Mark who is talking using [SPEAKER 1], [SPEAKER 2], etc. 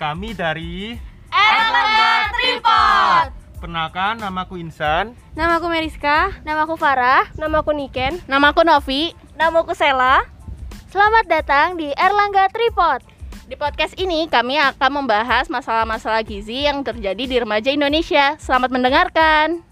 [SPEAKER 1] Kami dari
[SPEAKER 2] Erlangga Tripod.
[SPEAKER 1] Perkenalkan, namaku Insan.
[SPEAKER 3] Namaku Meriska.
[SPEAKER 2] Namaku Farah.
[SPEAKER 4] Namaku Niken.
[SPEAKER 3] Namaku Novi.
[SPEAKER 2] Namaku Sela. Selamat datang di Erlangga Tripod.
[SPEAKER 3] Di podcast ini kami akan membahas masalah-masalah gizi yang terjadi di remaja Indonesia. Selamat mendengarkan.